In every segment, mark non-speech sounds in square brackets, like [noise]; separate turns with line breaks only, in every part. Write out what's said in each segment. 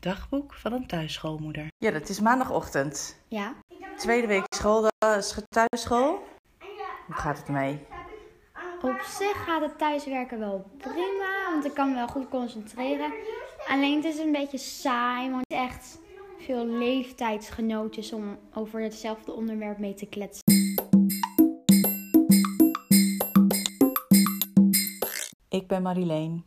dagboek van een thuisschoolmoeder.
Ja, dat is maandagochtend.
Ja.
Tweede week school, dat is thuisschool. Hoe gaat het mee?
Op zich gaat het thuiswerken wel prima, want ik kan me wel goed concentreren. Alleen het is een beetje saai, want het is echt veel leeftijdsgenootjes om over hetzelfde onderwerp mee te kletsen.
Ik ben Marileen,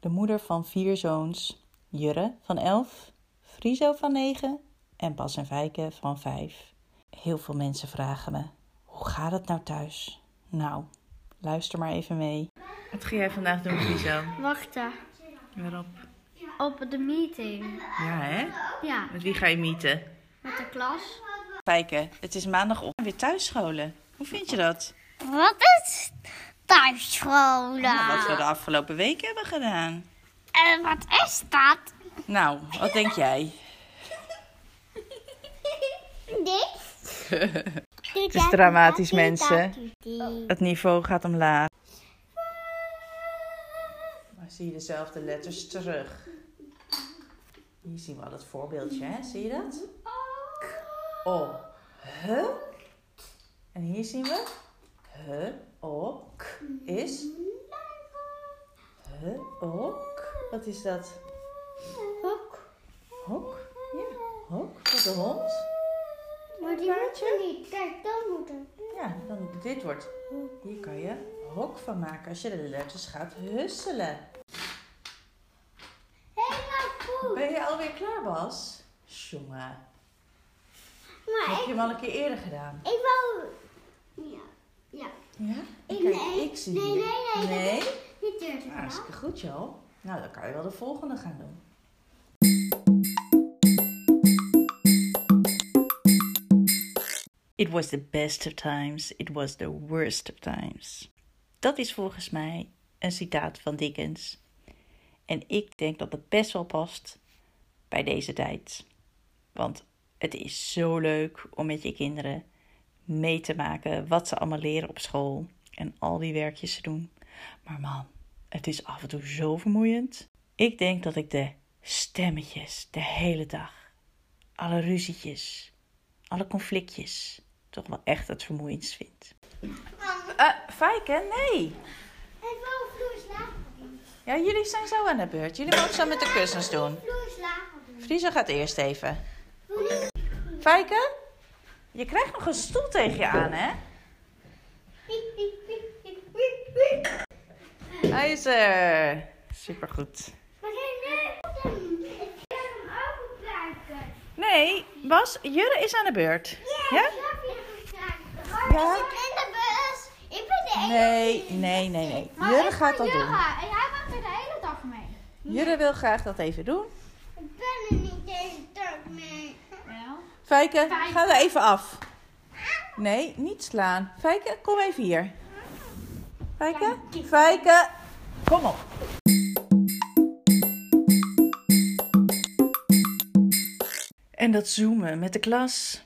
de moeder van vier zoons. Jurre van 11, Friso van 9 en Bas en Vijke van 5. Heel veel mensen vragen me, hoe gaat het nou thuis? Nou, luister maar even mee.
Wat ga jij vandaag doen, Friso?
Wachten
Waarop?
op de meeting.
Ja, hè?
Ja,
Met wie ga je mieten?
met de klas.
Vijke, het is maandagochtend weer thuisscholen. Hoe vind je dat?
Wat is thuisscholen?
Wat we de afgelopen week hebben gedaan.
En wat is dat?
Nou, wat denk jij?
Dit? [laughs] Het
is dramatisch, mensen. Oh. Het niveau gaat omlaag. Maar zie je dezelfde letters terug. Hier zien we al het voorbeeldje, hè? Zie je dat? O, he. En hier zien we he, o, k is he, o, k. Wat is dat?
Ook,
Hok? Ja, hok voor de hond.
maar die moet niet. Kijk, dat moet
Ja, dan dit wordt. Hier kan je hok van maken als je de letters gaat husselen. Ben je alweer klaar, Bas? Jongen,
Maar
heb je hem al een keer eerder gedaan?
ik wou... Ja, ja.
Ja?
Ik-
Kijk,
nee.
ik zie
Nee,
hier-
nee, nee, dat-
Nee?
Niet eerder
Nou, hartstikke goed, joh. Nou, dan kan je wel de volgende gaan doen. It was the best of times, it was the worst of times. Dat is volgens mij een citaat van Dickens. En ik denk dat het best wel past bij deze tijd. Want het is zo leuk om met je kinderen mee te maken wat ze allemaal leren op school en al die werkjes te doen. Maar man, het is af en toe zo vermoeiend. Ik denk dat ik de stemmetjes de hele dag, alle ruzietjes, alle conflictjes toch wel echt het vermoeiendst vind. Eh, Fijke, nee.
Ik wou vloer slapen doen.
Ja, jullie zijn zo aan de beurt. Jullie mogen zo met de kussens doen.
Vloer slapen doen.
Friso gaat eerst even. Fijke, je krijgt nog een stoel tegen je aan, hè?
Piep, piep, piep, piep, piep, piep.
Hij is er. Supergoed.
Maar geen neus. Ik ga hem ook gebruiken.
Nee, Bas, Jurre is aan de beurt. Ja? Ja.
Ja? Ik zit in de bus. Ik ben de enige.
Nee, nee, nee, nee.
Maar
Jurre
ik
gaat
wil
dat doen.
Jurre. En hij maakt er de hele dag mee.
Jurre wil graag dat even doen.
Ik ben er niet de hele dag mee. Wel?
Fijke, ga er even af. Nee, niet slaan. Fijke, kom even hier. Fijke, Fijke, kom op. En dat zoomen met de klas.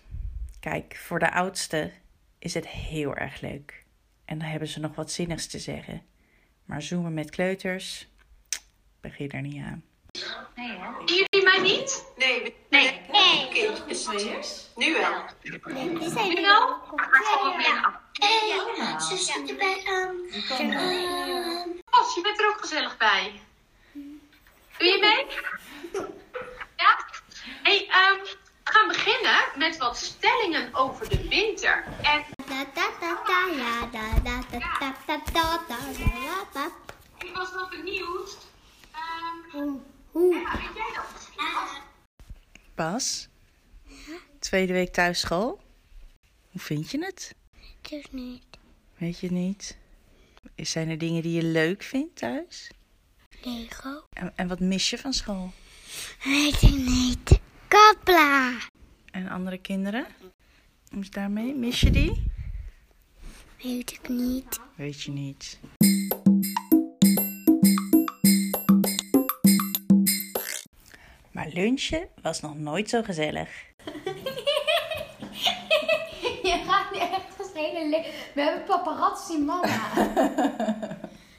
Kijk, voor de oudste is het heel erg leuk. En dan hebben ze nog wat zinnigs te zeggen. Maar zoomen met kleuters, begin er niet aan.
Zien jullie mij niet? Nee. Nee.
Nee.
Oké, dus nu wel.
Die zijn
Nu wel? Ah, Maar ik kom ook weer af.
Ze zitten bij ehm, een...
Bas, je bent er ook gezellig bij. Doe je mee? Ja? hey, ehm, we gaan beginnen met wat stellingen over de winter. En
Da da da da ja da da da da da da da da da
ik was wel benieuwd. Ehm ja, weet jij dat?
Bas, tweede week thuisschool. Hoe vind je het?
Het is niet.
Weet je het niet? Zijn er dingen die je leuk vindt thuis?
Lego.
En, en wat mis je van school?
Weet ik niet. Kapla.
En andere kinderen? Hoe is het daarmee? Mis je die?
Weet ik niet.
Weet je niet. Maar lunchen was nog nooit zo gezellig.
Je gaat nu echt als hele le- We hebben paparazzi mama.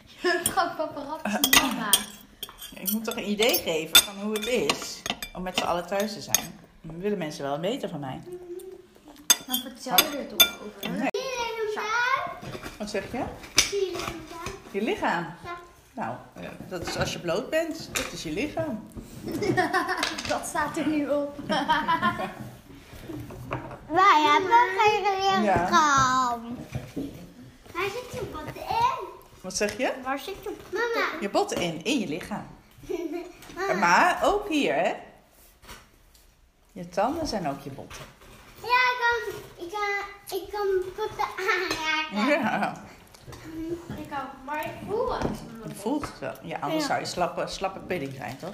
Je hebt gewoon paparazzi mama.
Ik moet toch een idee geven van hoe het is? om met z'n allen thuis te zijn. Dan willen mensen wel weten van mij.
Maar vertel je er toch over?
Wat zeg je? Je lichaam. Nou, eh, dat is als je bloot bent. Dat is je lichaam.
Dat staat er nu op.
Wij hebben geen lichaam.
Hij zit je wat in.
Wat zeg je?
Waar zit je op?
Mama.
Je botten in, in je lichaam. Maar ook hier, hè? Je tanden zijn ook je botten.
Ja, ik kan, ik kan, ik kan potten aanraken.
Ja,
Ik ook, maar ik voel het.
je voelt het wel. Ja, anders zou je slappe, slappe pudding zijn, toch?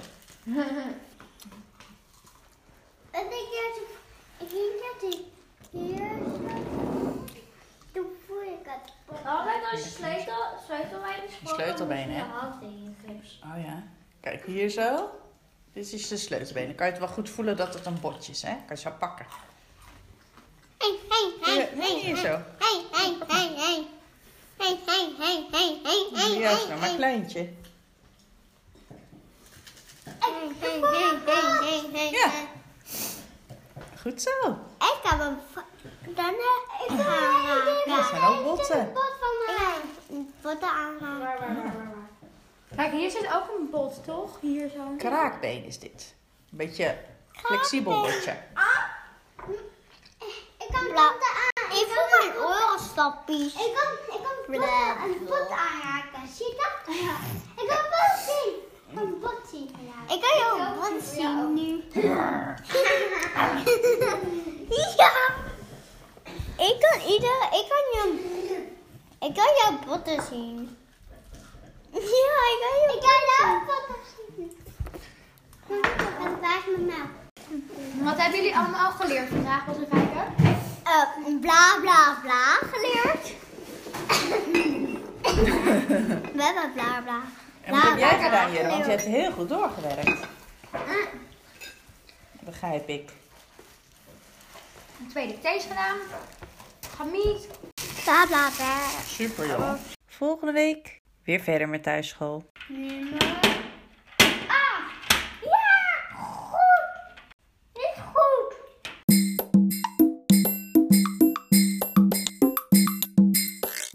En ik denk dat ik denk dat ik hier Toen voel ik het potten.
Altijd als je sleutel, sleutelbeen is
Je sleutelbeen, hè?
hand in je grips.
Oh ja. Kijk, hier zo. Dit is de sleutelbeen. Dan kan je het wel goed voelen dat het een botje is, hè? Kan je zo pakken.
Hey, hey, hey, hey,
Hier zo.
hey, hey, hey, hey. Hey, hey, hey, hey, hey, hey,
Ja,
hey,
zo, maar
hey.
een kleintje.
Hey, hey, hey, hey, hey, hey,
Ja.
hey.
Goed zo.
Ik heb een v- dan eh, ik aanraken.
Dat zijn ook botten.
Pot van mij. Potten aanraken.
Waar, waar, waar, waar, waar. Kijk, hier zit ook een bot, toch? Hier zo.
Kraakbeen is dit. Een beetje flexibel botje.
Ah. Ik kan potten aan. Ik voel mijn orenstappies. Ik kan, ik kan potten, een pot aanraken. Zie je dat? Ik kan een pot zien. Een pot zien. Ik kan jouw pot zien nu. ja. Ik kan ieder, ik kan jou, ik kan jouw potten zien. Ja, ik kan jouw Ik kan jouw potten zien. Wat blijft me nou?
Wat hebben jullie allemaal geleerd vandaag, Bas en Vijker?
Eh, bla bla bla geleerd. [laughs] We hebben bla bla.
En wat heb jij
bla,
gedaan,
bla,
Jelle? Want je
geleerd.
hebt heel goed doorgewerkt.
Mm.
Begrijp ik.
Een tweede thees gedaan. Gamiet.
Bla bla bla.
Super, joh. Volgende week weer verder met thuisschool.
Nee, maar